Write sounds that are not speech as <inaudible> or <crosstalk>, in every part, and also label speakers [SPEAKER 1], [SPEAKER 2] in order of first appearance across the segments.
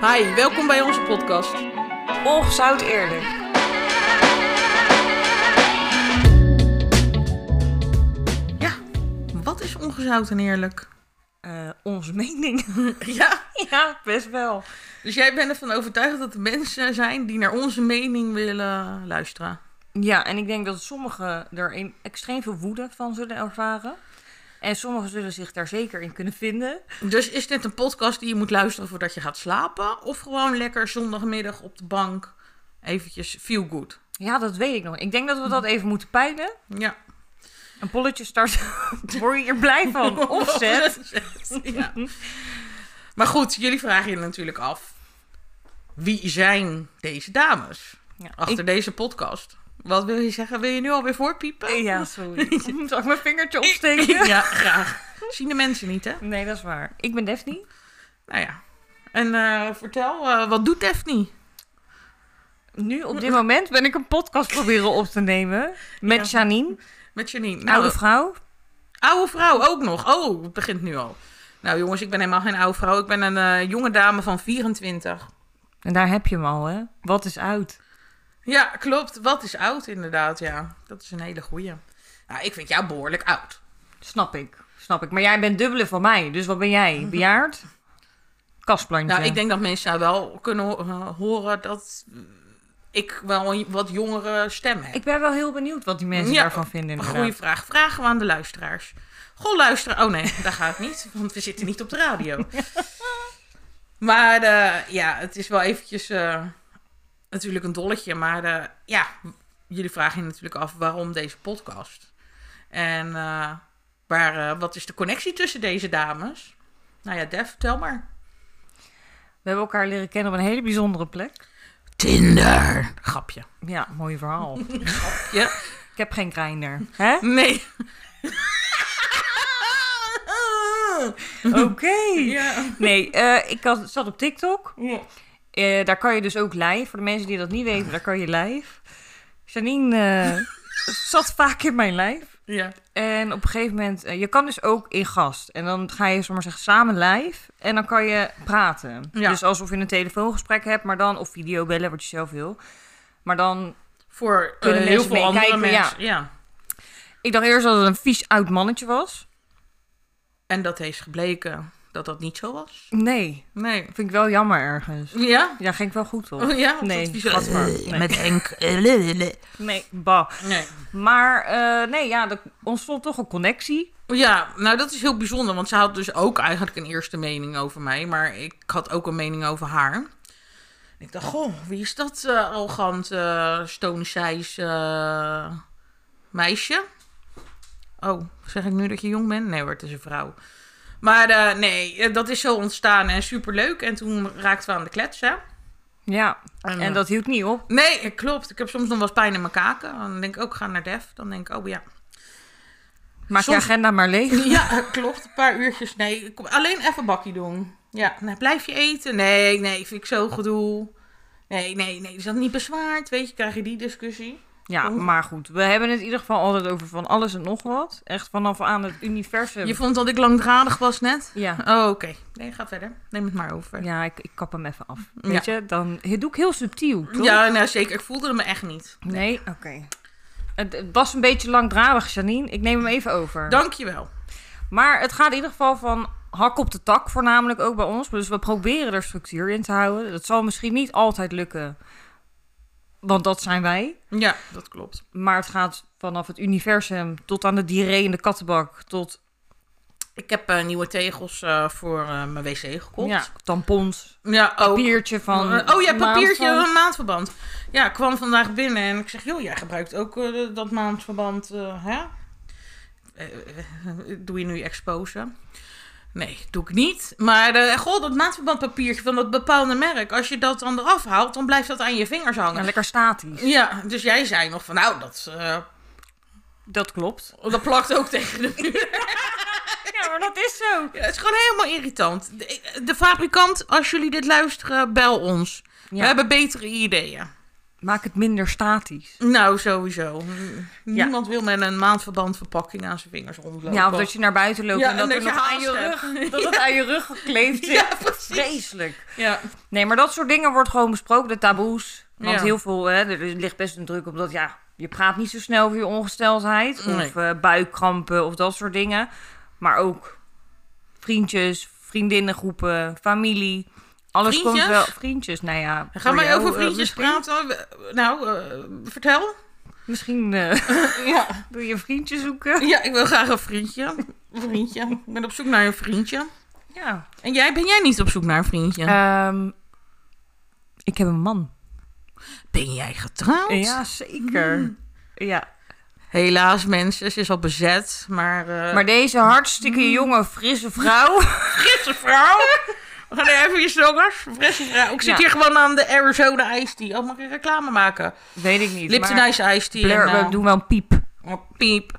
[SPEAKER 1] Hi, welkom bij onze podcast.
[SPEAKER 2] Ongezout eerlijk.
[SPEAKER 1] Ja, wat is ongezout en eerlijk?
[SPEAKER 2] Eh onze <laughs> mening.
[SPEAKER 1] Ja,
[SPEAKER 2] ja, best wel.
[SPEAKER 1] dus jij bent ervan overtuigd dat er mensen zijn die naar onze mening willen luisteren.
[SPEAKER 2] Ja, en ik denk dat sommigen er een- extreem veel woede van zullen ervaren. En sommigen zullen zich daar zeker in kunnen vinden.
[SPEAKER 1] Dus is dit een podcast die je moet luisteren voordat je gaat slapen? Of gewoon lekker zondagmiddag op de bank eventjes feel good?
[SPEAKER 2] Ja, dat weet ik nog. Ik denk dat we dat even moeten peilen.
[SPEAKER 1] Ja.
[SPEAKER 2] Een polletje starten. <laughs> Word je er blij <laughs> van?
[SPEAKER 1] Oh,
[SPEAKER 2] Opzet.
[SPEAKER 1] <laughs> ja. Maar goed, jullie vragen je natuurlijk af. Wie zijn deze dames
[SPEAKER 2] Ja,
[SPEAKER 1] achter deze podcast? Wat wil je zeggen? Wil je nu alweer voorpiepen?
[SPEAKER 2] ik- ja, sorry. Zal <laughs> ik mijn vingertje opsteken?
[SPEAKER 1] Ja, graag. Zien de mensen niet, hè?
[SPEAKER 2] <laughs> Nee, dat is waar. Ik ben Daphne.
[SPEAKER 1] Nou ja. En eh, vertel, eh, wat doet Daphne?
[SPEAKER 2] Nu, op dit moment, ben ik een podcast proberen op te nemen. Met Janine,
[SPEAKER 1] Met Janine. Nou,
[SPEAKER 2] oude vrouw.
[SPEAKER 1] oude vrouw ook nog. Oh, het begint nu al. Nou jongens, ik ben helemaal geen oude vrouw. Ik ben een eh, jonge dame van 24.
[SPEAKER 2] En daar heb je hem al, hè? Wat is oud?
[SPEAKER 1] Ja, klopt. Wat is oud inderdaad, ja. Dat is een hele goeie. Nou, ik vind jou behoorlijk oud.
[SPEAKER 2] Snap ik, snap ik. Maar jij bent dubbele van mij, dus wat ben
[SPEAKER 1] <laughs>
[SPEAKER 2] jij? Bejaard? Kastplantje.
[SPEAKER 1] Nou, ik denk dat mensen nou wel kunnen ho- eh, horen dat ik wel een wat jongere stem heb.
[SPEAKER 2] Ik ben wel heel benieuwd wat die mensen
[SPEAKER 1] Ja,
[SPEAKER 2] daarvan vinden
[SPEAKER 1] Een
[SPEAKER 2] inderdaad.
[SPEAKER 1] goede vraag. Vragen we aan de luisteraars. Goh, luisteren. Oh nee, daar gaat het niet, want we zitten niet op de radio. Maar eh, ja, het is wel eventjes eh, natuurlijk een dolletje. Maar eh, ja, jullie vragen je natuurlijk af waarom deze podcast. En eh, waar, eh, wat is de connectie tussen deze dames? Nou ja, Def, vertel maar.
[SPEAKER 2] We hebben elkaar leren kennen op een hele bijzondere plek.
[SPEAKER 1] Tinder. Grapje.
[SPEAKER 2] Ja,
[SPEAKER 1] <laughs>
[SPEAKER 2] mooi verhaal.
[SPEAKER 1] Ja.
[SPEAKER 2] ik heb geen grinder.
[SPEAKER 1] <laughs>
[SPEAKER 2] Hè?
[SPEAKER 1] Nee.
[SPEAKER 2] Oké.
[SPEAKER 1] Ja.
[SPEAKER 2] Nee, eh, ik had, zat op TikTok.
[SPEAKER 1] Ja.
[SPEAKER 2] Eh, daar kan je dus ook live. Voor de mensen die dat niet weten, daar kan je live. Janine
[SPEAKER 1] <laughs>
[SPEAKER 2] eh, zat vaak in mijn live.
[SPEAKER 1] Ja.
[SPEAKER 2] En op een gegeven moment, eh, je kan dus ook in gast. En dan ga je zomaar zeggen samen live. En dan kan je praten.
[SPEAKER 1] Ja.
[SPEAKER 2] Dus alsof je een telefoongesprek hebt, maar dan of videobellen, wat je zelf wil. Maar dan,
[SPEAKER 1] Voor eh,
[SPEAKER 2] Kunnen
[SPEAKER 1] heel
[SPEAKER 2] mensen
[SPEAKER 1] veel andere
[SPEAKER 2] meekijken, ja.
[SPEAKER 1] mensen. ja.
[SPEAKER 2] ik dacht eerst dat het een vies oud mannetje was.
[SPEAKER 1] En dat is gebleken dat dat niet zo was.
[SPEAKER 2] Nee,
[SPEAKER 1] Nee.
[SPEAKER 2] vind ik wel jammer ergens.
[SPEAKER 1] Ja?
[SPEAKER 2] Ja, ging ik wel goed op.
[SPEAKER 1] Oh, ja?
[SPEAKER 2] Nee,
[SPEAKER 1] Dat is
[SPEAKER 2] gat maar. Nee.
[SPEAKER 1] Met Henk.
[SPEAKER 2] <laughs> Nee, bah.
[SPEAKER 1] Nee.
[SPEAKER 2] Maar eh, nee, ja, er ontstond toch een connectie.
[SPEAKER 1] Ja, nou dat is heel bijzonder, want ze had dus ook eigenlijk een eerste mening over mij, maar ik had ook een mening over haar. En ik dacht, goh, wie is dat eh arrogant, eh stoïcijns eh, meisje? Oh, zeg ik nu dat je jong bent? Nee hoor, het is een vrouw. Maar eh, nee, eh, dat is zo ontstaan en superleuk. En toen raakten we aan de kletsen.
[SPEAKER 2] Ja,
[SPEAKER 1] En,
[SPEAKER 2] en eh, dat hield niet op.
[SPEAKER 1] Nee, klopt. Ik heb soms nog wel eens pijn in mijn kaken. Dan denk ik ook, ga naar Def. Dan denk ik, oh ja.
[SPEAKER 2] Maak
[SPEAKER 1] Soms-
[SPEAKER 2] je agenda maar <laughs>
[SPEAKER 1] <laughs>
[SPEAKER 2] leeg.
[SPEAKER 1] Ja, klopt. Een paar uurtjes. Nee, ik kom alleen even bakkie doen. Ja, nee, blijf je eten? Nee, nee, vind ik zo gedoe. Nee, nee, nee, is dat niet bezwaard? Weet je, krijg je die discussie?
[SPEAKER 2] Ja,
[SPEAKER 1] Oh.
[SPEAKER 2] maar goed. We hebben het in ieder geval altijd over van alles en nog wat. Echt vanaf aan het universum.
[SPEAKER 1] Je vond dat ik langdradig was net?
[SPEAKER 2] Ja.
[SPEAKER 1] Oh, oké. Nee, ga verder. Neem het maar over. Ja,
[SPEAKER 2] Ja, ik, ik kap hem even af. Weet je, dan het doe ik heel subtiel, toch?
[SPEAKER 1] nou zeker. Ik voelde me echt niet.
[SPEAKER 2] Nee, oké. Het, het was een beetje langdradig, Janine. Ik neem hem even over.
[SPEAKER 1] Dankjewel.
[SPEAKER 2] Maar het gaat in ieder geval van hak op de tak, voornamelijk ook bij ons. Dus we proberen er structuur in te houden. Dat zal misschien niet altijd lukken, want dat zijn wij.
[SPEAKER 1] Ja, dat klopt.
[SPEAKER 2] Maar het gaat vanaf het universum tot aan de diarree in de kattenbak, tot
[SPEAKER 1] Ik heb eh, nieuwe tegels eh, voor eh, mijn wc gekocht.
[SPEAKER 2] ja, tampons,
[SPEAKER 1] ja ook.
[SPEAKER 2] papiertje van...
[SPEAKER 1] Eh, oh ja,
[SPEAKER 2] maand
[SPEAKER 1] papiertje
[SPEAKER 2] van-
[SPEAKER 1] van maandverband. Ja, ik kwam vandaag binnen en ik zeg, joh, jij gebruikt ook eh, dat maandverband, eh, hè? Eh, eh, doe je nu exposen? Nee, doe ik niet. Maar eh, goh, dat maandverbandpapiertje van dat bepaalde merk, als je dat dan eraf haalt, dan blijft dat aan je vingers
[SPEAKER 2] Ja,
[SPEAKER 1] hangen.
[SPEAKER 2] lekker statisch.
[SPEAKER 1] Ja, dus jij zei nog van, nou, dat, eh,
[SPEAKER 2] Dat klopt.
[SPEAKER 1] dat plakt ook <laughs> tegen de muur.
[SPEAKER 2] Ja, maar dat is zo.
[SPEAKER 1] Ja, het is gewoon helemaal irritant. De, de fabrikant, als jullie dit luisteren, bel ons. We
[SPEAKER 2] Ja.
[SPEAKER 1] hebben betere ideeën.
[SPEAKER 2] Maak het minder statisch.
[SPEAKER 1] Nou, sowieso. N- Niemand wil met een maandverband verpakking aan zijn vingers rondlopen.
[SPEAKER 2] Ja, of dat je naar buiten loopt
[SPEAKER 1] Ja,
[SPEAKER 2] en dat,
[SPEAKER 1] en
[SPEAKER 2] er
[SPEAKER 1] dat je
[SPEAKER 2] nog aan
[SPEAKER 1] haast
[SPEAKER 2] je
[SPEAKER 1] hebt.
[SPEAKER 2] rug, dat het aan je rug gekleefd zit.
[SPEAKER 1] <laughs> <laughs> Ja, precies.
[SPEAKER 2] Vreselijk.
[SPEAKER 1] Ja.
[SPEAKER 2] Nee, maar dat soort dingen wordt gewoon besproken, de taboes. Want
[SPEAKER 1] Ja.
[SPEAKER 2] heel veel, hè, er ligt best een druk op dat, ja, je praat niet zo snel over je ongesteldheid.
[SPEAKER 1] Nee.
[SPEAKER 2] Of eh, buikkrampen of dat soort dingen. Maar ook vriendjes, vriendinnengroepen, familie. Alles komt
[SPEAKER 1] Vriendjes?
[SPEAKER 2] wel. Vriendjes, nou ja.
[SPEAKER 1] Gaan
[SPEAKER 2] voor
[SPEAKER 1] wij
[SPEAKER 2] jou,
[SPEAKER 1] over
[SPEAKER 2] eh,
[SPEAKER 1] vriendjes
[SPEAKER 2] misschien-
[SPEAKER 1] praten? We- Nou, eh, vertel.
[SPEAKER 2] Misschien eh, <laughs>
[SPEAKER 1] Ja.
[SPEAKER 2] wil je een vriendje zoeken.
[SPEAKER 1] ja, ik wil graag een vriendje. Vriendje. Ik ben op zoek naar een vriendje.
[SPEAKER 2] Ja.
[SPEAKER 1] En jij, ben jij niet op zoek naar een vriendje?
[SPEAKER 2] Ehm, ik heb een man.
[SPEAKER 1] ben jij getrouwd?
[SPEAKER 2] Ja, zeker.
[SPEAKER 1] Hmm.
[SPEAKER 2] Ja.
[SPEAKER 1] Helaas, mensen. Ze is al bezet. Maar, eh
[SPEAKER 2] Maar deze
[SPEAKER 1] hmm.
[SPEAKER 2] hartstikke jonge, frisse vrouw.
[SPEAKER 1] frisse
[SPEAKER 2] <laughs>
[SPEAKER 1] vrouw. We gaan even je zongers. Frisse vrouw. Ik zit
[SPEAKER 2] Ja.
[SPEAKER 1] hier gewoon aan de Arizona Ice Tea. Oh, mag ik reclame maken?
[SPEAKER 2] <laughs> Weet ik niet.
[SPEAKER 1] Lipton
[SPEAKER 2] maar
[SPEAKER 1] Ice Ice Tea.
[SPEAKER 2] blur,
[SPEAKER 1] en, eh,
[SPEAKER 2] we doen wel een piep.
[SPEAKER 1] oh, piep.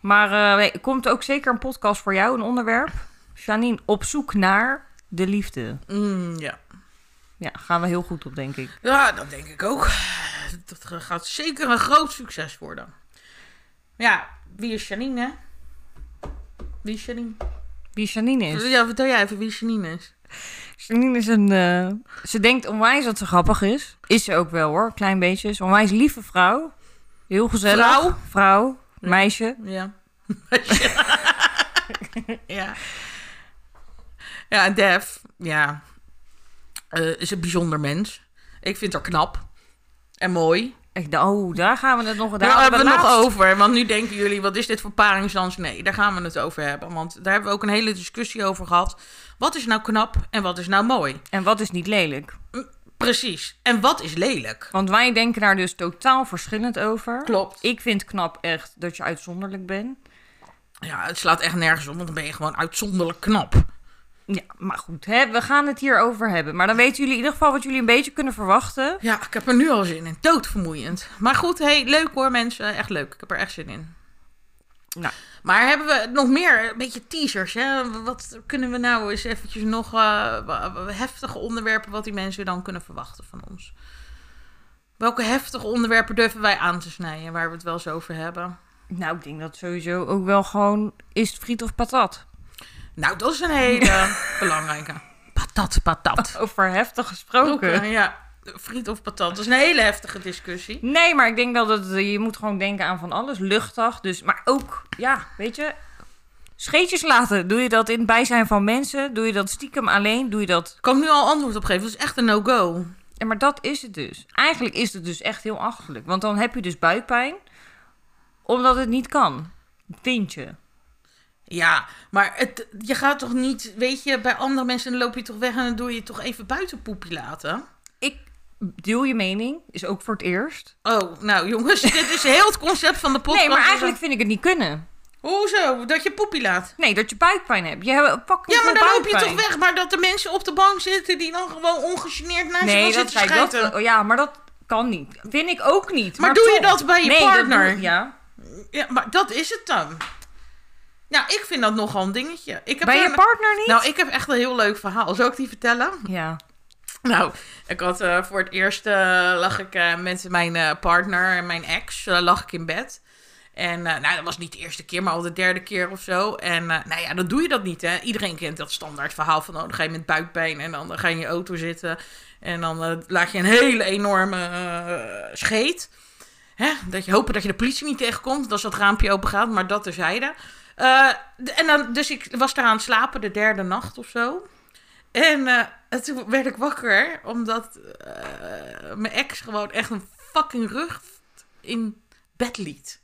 [SPEAKER 2] Maar eh, nee, er komt ook zeker een podcast voor jou, een onderwerp. Janine, op zoek naar de liefde.
[SPEAKER 1] Mm, ja.
[SPEAKER 2] Ja, gaan we heel goed op, denk ik.
[SPEAKER 1] ja, dat denk ik ook. Dat gaat zeker een groot succes worden. Ja, wie is Janine? hè? Wie is Janine?
[SPEAKER 2] Wie Janine is.
[SPEAKER 1] Ja, vertel jij even wie Janine is.
[SPEAKER 2] Janine is een... eh, ze denkt onwijs dat ze grappig is. Is ze ook wel hoor, een klein beetje. Ze is een onwijs lieve vrouw. Heel gezellig.
[SPEAKER 1] Vrouw?
[SPEAKER 2] Vrouw. Meisje.
[SPEAKER 1] Ja. <laughs> ja. Ja, en Def, ja, eh, is een bijzonder mens. Ik vind haar knap en mooi.
[SPEAKER 2] Ik dacht, oh, daar gaan we het nog...
[SPEAKER 1] Daar hebben we het nog
[SPEAKER 2] laatst-
[SPEAKER 1] over. Want nu denken jullie, wat is dit voor paringsdans? Nee, daar gaan we het over hebben. Want daar hebben we ook een hele discussie over gehad. Wat is nou knap en wat is nou mooi?
[SPEAKER 2] En wat is niet lelijk?
[SPEAKER 1] Precies. En wat is lelijk?
[SPEAKER 2] Want wij denken daar dus totaal verschillend over.
[SPEAKER 1] Klopt.
[SPEAKER 2] Ik vind knap echt dat je uitzonderlijk bent.
[SPEAKER 1] Ja, het slaat echt nergens op, want dan ben je gewoon uitzonderlijk knap.
[SPEAKER 2] Ja, maar goed, hè, we gaan het hier over hebben. Maar dan weten jullie in ieder geval wat jullie een beetje kunnen verwachten.
[SPEAKER 1] Ja, ik heb er nu al zin in. Doodvermoeiend. Maar goed, hey, leuk hoor mensen. Echt leuk. Ik heb er echt zin in.
[SPEAKER 2] Nou.
[SPEAKER 1] Maar hebben we nog meer? Een beetje teasers, hè? Wat kunnen we nou eens eventjes nog... eh, wa- wa- heftige onderwerpen wat die mensen dan kunnen verwachten van ons? Welke heftige onderwerpen durven wij aan te snijden waar we het wel eens over hebben?
[SPEAKER 2] Nou, ik denk dat sowieso ook wel gewoon is het friet of patat.
[SPEAKER 1] Nou, dat is een <laughs> hele belangrijke. Patat, patat.
[SPEAKER 2] Over heftig gesproken.
[SPEAKER 1] Ja, friet of patat. Dat is een hele heftige discussie.
[SPEAKER 2] Nee, maar ik denk dat het, eh, je moet gewoon denken aan van alles. Luchtig, dus, maar ook, ja, weet je, scheetjes laten. Doe je dat in het bijzijn van mensen? Doe je dat stiekem alleen? Doe je dat
[SPEAKER 1] Ik kan ik nu al antwoord op geven. Dat is echt een no-go.
[SPEAKER 2] Ja, maar dat is het dus. Eigenlijk is het dus echt heel achterlijk. Want dan heb je dus buikpijn, omdat het niet kan. Vind je?
[SPEAKER 1] Ja, maar het, je gaat toch niet, weet je, bij andere mensen dan loop je toch weg en dan doe je toch even buiten poepie laten.
[SPEAKER 2] Ik deel je mening, is ook voor het eerst.
[SPEAKER 1] Oh, nou jongens, dit is heel het concept van de podcast.
[SPEAKER 2] nee, maar eigenlijk vind ik het niet kunnen.
[SPEAKER 1] Hoezo? Dat je poepie laat?
[SPEAKER 2] Nee, dat je buikpijn hebt. Je hebt fucking
[SPEAKER 1] Ja, maar
[SPEAKER 2] veel
[SPEAKER 1] dan loop je
[SPEAKER 2] buikpijn.
[SPEAKER 1] toch weg. Maar dat er mensen op de bank zitten die dan gewoon ongegeneerd naast je
[SPEAKER 2] Nee,
[SPEAKER 1] gaan
[SPEAKER 2] dat,
[SPEAKER 1] zitten
[SPEAKER 2] zei dat,
[SPEAKER 1] schijten.
[SPEAKER 2] oh ja, maar dat kan niet. Vind ik ook niet.
[SPEAKER 1] Maar doe je
[SPEAKER 2] toch.
[SPEAKER 1] dat bij je
[SPEAKER 2] nee,
[SPEAKER 1] partner?
[SPEAKER 2] Dat doe, ja.
[SPEAKER 1] Ja, maar dat is het dan. Nou, ik vind dat nogal een dingetje. Ik heb
[SPEAKER 2] Bij je
[SPEAKER 1] daar-
[SPEAKER 2] partner niet?
[SPEAKER 1] Nou, ik heb echt een heel leuk verhaal. Zal ik die vertellen? <laughs>
[SPEAKER 2] Ja.
[SPEAKER 1] Nou, ik had eh, voor het eerst eh, lag ik eh, met mijn eh, partner en mijn ex eh, lag ik in bed. En eh, nou, dat was niet de eerste keer, maar al de derde keer of zo. En eh, nou ja, dan doe je dat niet, hè. Iedereen kent dat standaard verhaal van... oh, dan ga je met buikpijn en dan ga je in je auto zitten... en dan eh, laat je een hele enorme eh, scheet. Hè? Dat je hopen dat je de politie niet tegenkomt, als dat raampje open gaat, maar dat terzijde. Eh d- en dan, dus ik was daar aan het slapen de derde nacht of zo. En eh, en toen werd ik wakker, omdat eh, mijn ex gewoon echt een fucking rug in bed liet.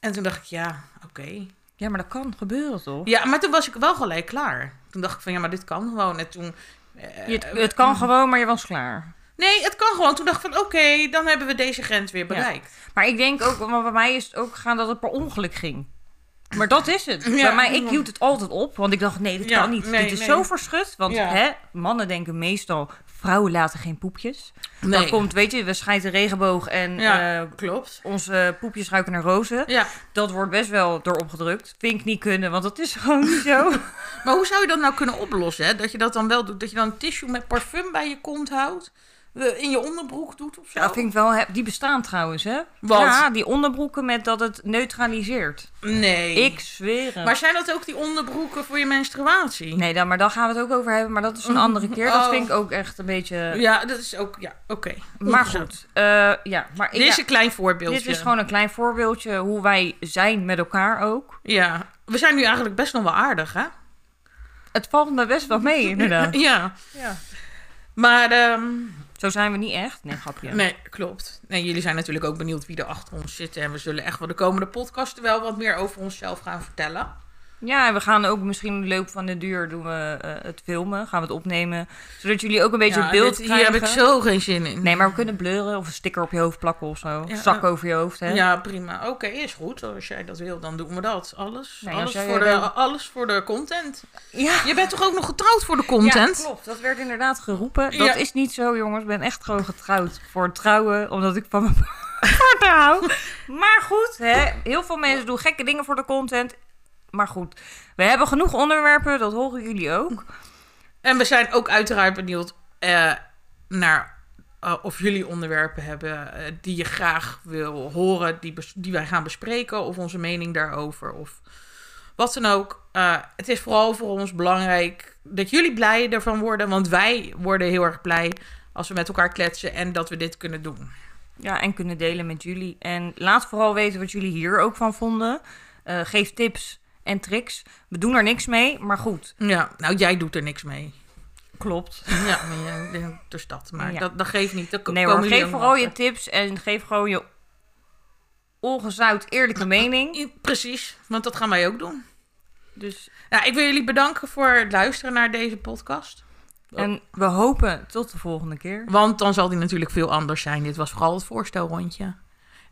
[SPEAKER 1] En toen dacht ik, ja, oké.
[SPEAKER 2] ja, maar dat kan gebeuren toch?
[SPEAKER 1] Ja, maar toen was ik wel gelijk klaar. Toen dacht ik van, ja, maar dit kan gewoon. En toen... eh,
[SPEAKER 2] Je- het kan gewoon, maar je was klaar.
[SPEAKER 1] Nee, het kan gewoon. Toen dacht ik van, oké, dan hebben we deze grens weer bereikt.
[SPEAKER 2] Maar ik denk ook, want bij mij is het ook gegaan dat het per ongeluk ging. Maar dat is het.
[SPEAKER 1] Ja.
[SPEAKER 2] Bij mij, ik hield het altijd op, want ik dacht, nee, dit
[SPEAKER 1] Ja,
[SPEAKER 2] kan niet.
[SPEAKER 1] nee,
[SPEAKER 2] dit is
[SPEAKER 1] nee.
[SPEAKER 2] zo verschut, want
[SPEAKER 1] Ja.
[SPEAKER 2] hè, mannen denken meestal, vrouwen laten geen poepjes.
[SPEAKER 1] Nee,
[SPEAKER 2] Dan komt, weet je, we scheiden regenboog en
[SPEAKER 1] Ja.
[SPEAKER 2] eh,
[SPEAKER 1] klopt.
[SPEAKER 2] onze poepjes ruiken naar rozen.
[SPEAKER 1] Ja,
[SPEAKER 2] Dat wordt best wel erop gedrukt. Vind ik niet kunnen, want dat is gewoon niet
[SPEAKER 1] <laughs>
[SPEAKER 2] zo.
[SPEAKER 1] maar hoe zou je dat nou kunnen oplossen? Hè? Dat je dat dan wel doet, dat je dan een tissue met parfum bij je kont houdt. eh, in je onderbroek doet of zo.
[SPEAKER 2] Ja, vind ik wel. heb- Die bestaan trouwens, hè?
[SPEAKER 1] Nou. Wat?
[SPEAKER 2] Ja, die onderbroeken met dat het neutraliseert.
[SPEAKER 1] Nee.
[SPEAKER 2] Ik zweer het.
[SPEAKER 1] Maar zijn dat ook die onderbroeken voor je menstruatie?
[SPEAKER 2] Nee, dan, maar daar gaan we het ook over hebben. Maar dat is een andere keer. Dat
[SPEAKER 1] Oh.
[SPEAKER 2] vind ik ook echt een beetje...
[SPEAKER 1] Ja, dat is ook, ja, oké.
[SPEAKER 2] maar
[SPEAKER 1] Ongezond.
[SPEAKER 2] goed. eh, ja, maar ik,
[SPEAKER 1] Dit is
[SPEAKER 2] ja,
[SPEAKER 1] een klein voorbeeldje.
[SPEAKER 2] dit is gewoon een klein voorbeeldje hoe wij zijn met elkaar ook.
[SPEAKER 1] Ja, we zijn nu eigenlijk best nog wel aardig, hè?
[SPEAKER 2] Het valt me best wel mee, inderdaad.
[SPEAKER 1] Ja,
[SPEAKER 2] Ja.
[SPEAKER 1] maar ehm,
[SPEAKER 2] Zo zijn we niet echt. Nee, grapje.
[SPEAKER 1] nee, klopt. Nee, jullie zijn natuurlijk ook benieuwd wie er achter ons zit. En we zullen echt wel de komende podcast wel wat meer over onszelf gaan vertellen.
[SPEAKER 2] Ja, en we gaan ook misschien in de loop van de duur doen we eh, het filmen. Gaan we het opnemen. Zodat jullie ook een beetje
[SPEAKER 1] Ja,
[SPEAKER 2] een beeld
[SPEAKER 1] dit- Hier
[SPEAKER 2] krijgen.
[SPEAKER 1] heb ik zo geen zin in.
[SPEAKER 2] Nee, maar we kunnen blurren of een sticker op je hoofd plakken of zo.
[SPEAKER 1] Ja,
[SPEAKER 2] Zak
[SPEAKER 1] eh,
[SPEAKER 2] over je hoofd, hè?
[SPEAKER 1] Ja, prima. Oké, is goed. Als jij dat wil, dan doen we dat. Alles,
[SPEAKER 2] Nee, als
[SPEAKER 1] alles,
[SPEAKER 2] jij
[SPEAKER 1] voor de,
[SPEAKER 2] wil-
[SPEAKER 1] alles voor de content.
[SPEAKER 2] ja.
[SPEAKER 1] Je bent toch ook nog getrouwd voor de content?
[SPEAKER 2] Ja, klopt. Dat werd inderdaad geroepen. Dat
[SPEAKER 1] Ja.
[SPEAKER 2] is niet zo, jongens. Ik ben echt gewoon getrouwd voor het trouwen, omdat ik van mijn <laughs> partner hou. Maar goed, hè, heel veel mensen doen gekke dingen voor de content. Maar goed, we hebben genoeg onderwerpen, dat horen jullie ook.
[SPEAKER 1] En we zijn ook uiteraard benieuwd eh, naar eh, of jullie onderwerpen hebben eh, die je graag wil horen, die, bes- die wij gaan bespreken, of onze mening daarover, of wat dan ook. Eh, het is vooral voor ons belangrijk dat jullie blij ervan worden, want wij worden heel erg blij als we met elkaar kletsen en dat we dit kunnen doen.
[SPEAKER 2] Ja, en kunnen delen met jullie. En laat vooral weten wat jullie hier ook van vonden. Eh, geef tips en tricks. We doen er niks mee, maar goed.
[SPEAKER 1] Ja, nou jij doet er niks mee. <laughs>
[SPEAKER 2] Klopt.
[SPEAKER 1] Ja, maar jij- dus dat. Maar
[SPEAKER 2] Ja.
[SPEAKER 1] dat, dat geeft niet. Dat
[SPEAKER 2] Nee hoor, geef vooral je tips en geef gewoon je ongezout eerlijke mening.
[SPEAKER 1] Precies, want dat gaan wij ook doen.
[SPEAKER 2] Dus,
[SPEAKER 1] Ja, Nou, ik wil jullie bedanken voor het luisteren naar deze podcast.
[SPEAKER 2] en we hopen tot de volgende keer.
[SPEAKER 1] Want dan zal die natuurlijk veel anders zijn. Dit was vooral het voorstelrondje.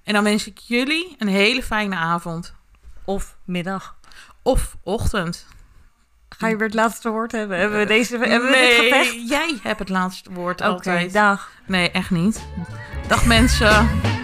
[SPEAKER 1] En dan wens ik jullie een hele fijne avond
[SPEAKER 2] Of middag.
[SPEAKER 1] of ochtend.
[SPEAKER 2] Ga je weer het laatste woord hebben? Hebben we, deze, hebben we
[SPEAKER 1] nee,
[SPEAKER 2] dit gevecht?
[SPEAKER 1] jij hebt het laatste woord
[SPEAKER 2] Oké,
[SPEAKER 1] altijd.
[SPEAKER 2] dag.
[SPEAKER 1] Nee, echt niet. Dag mensen.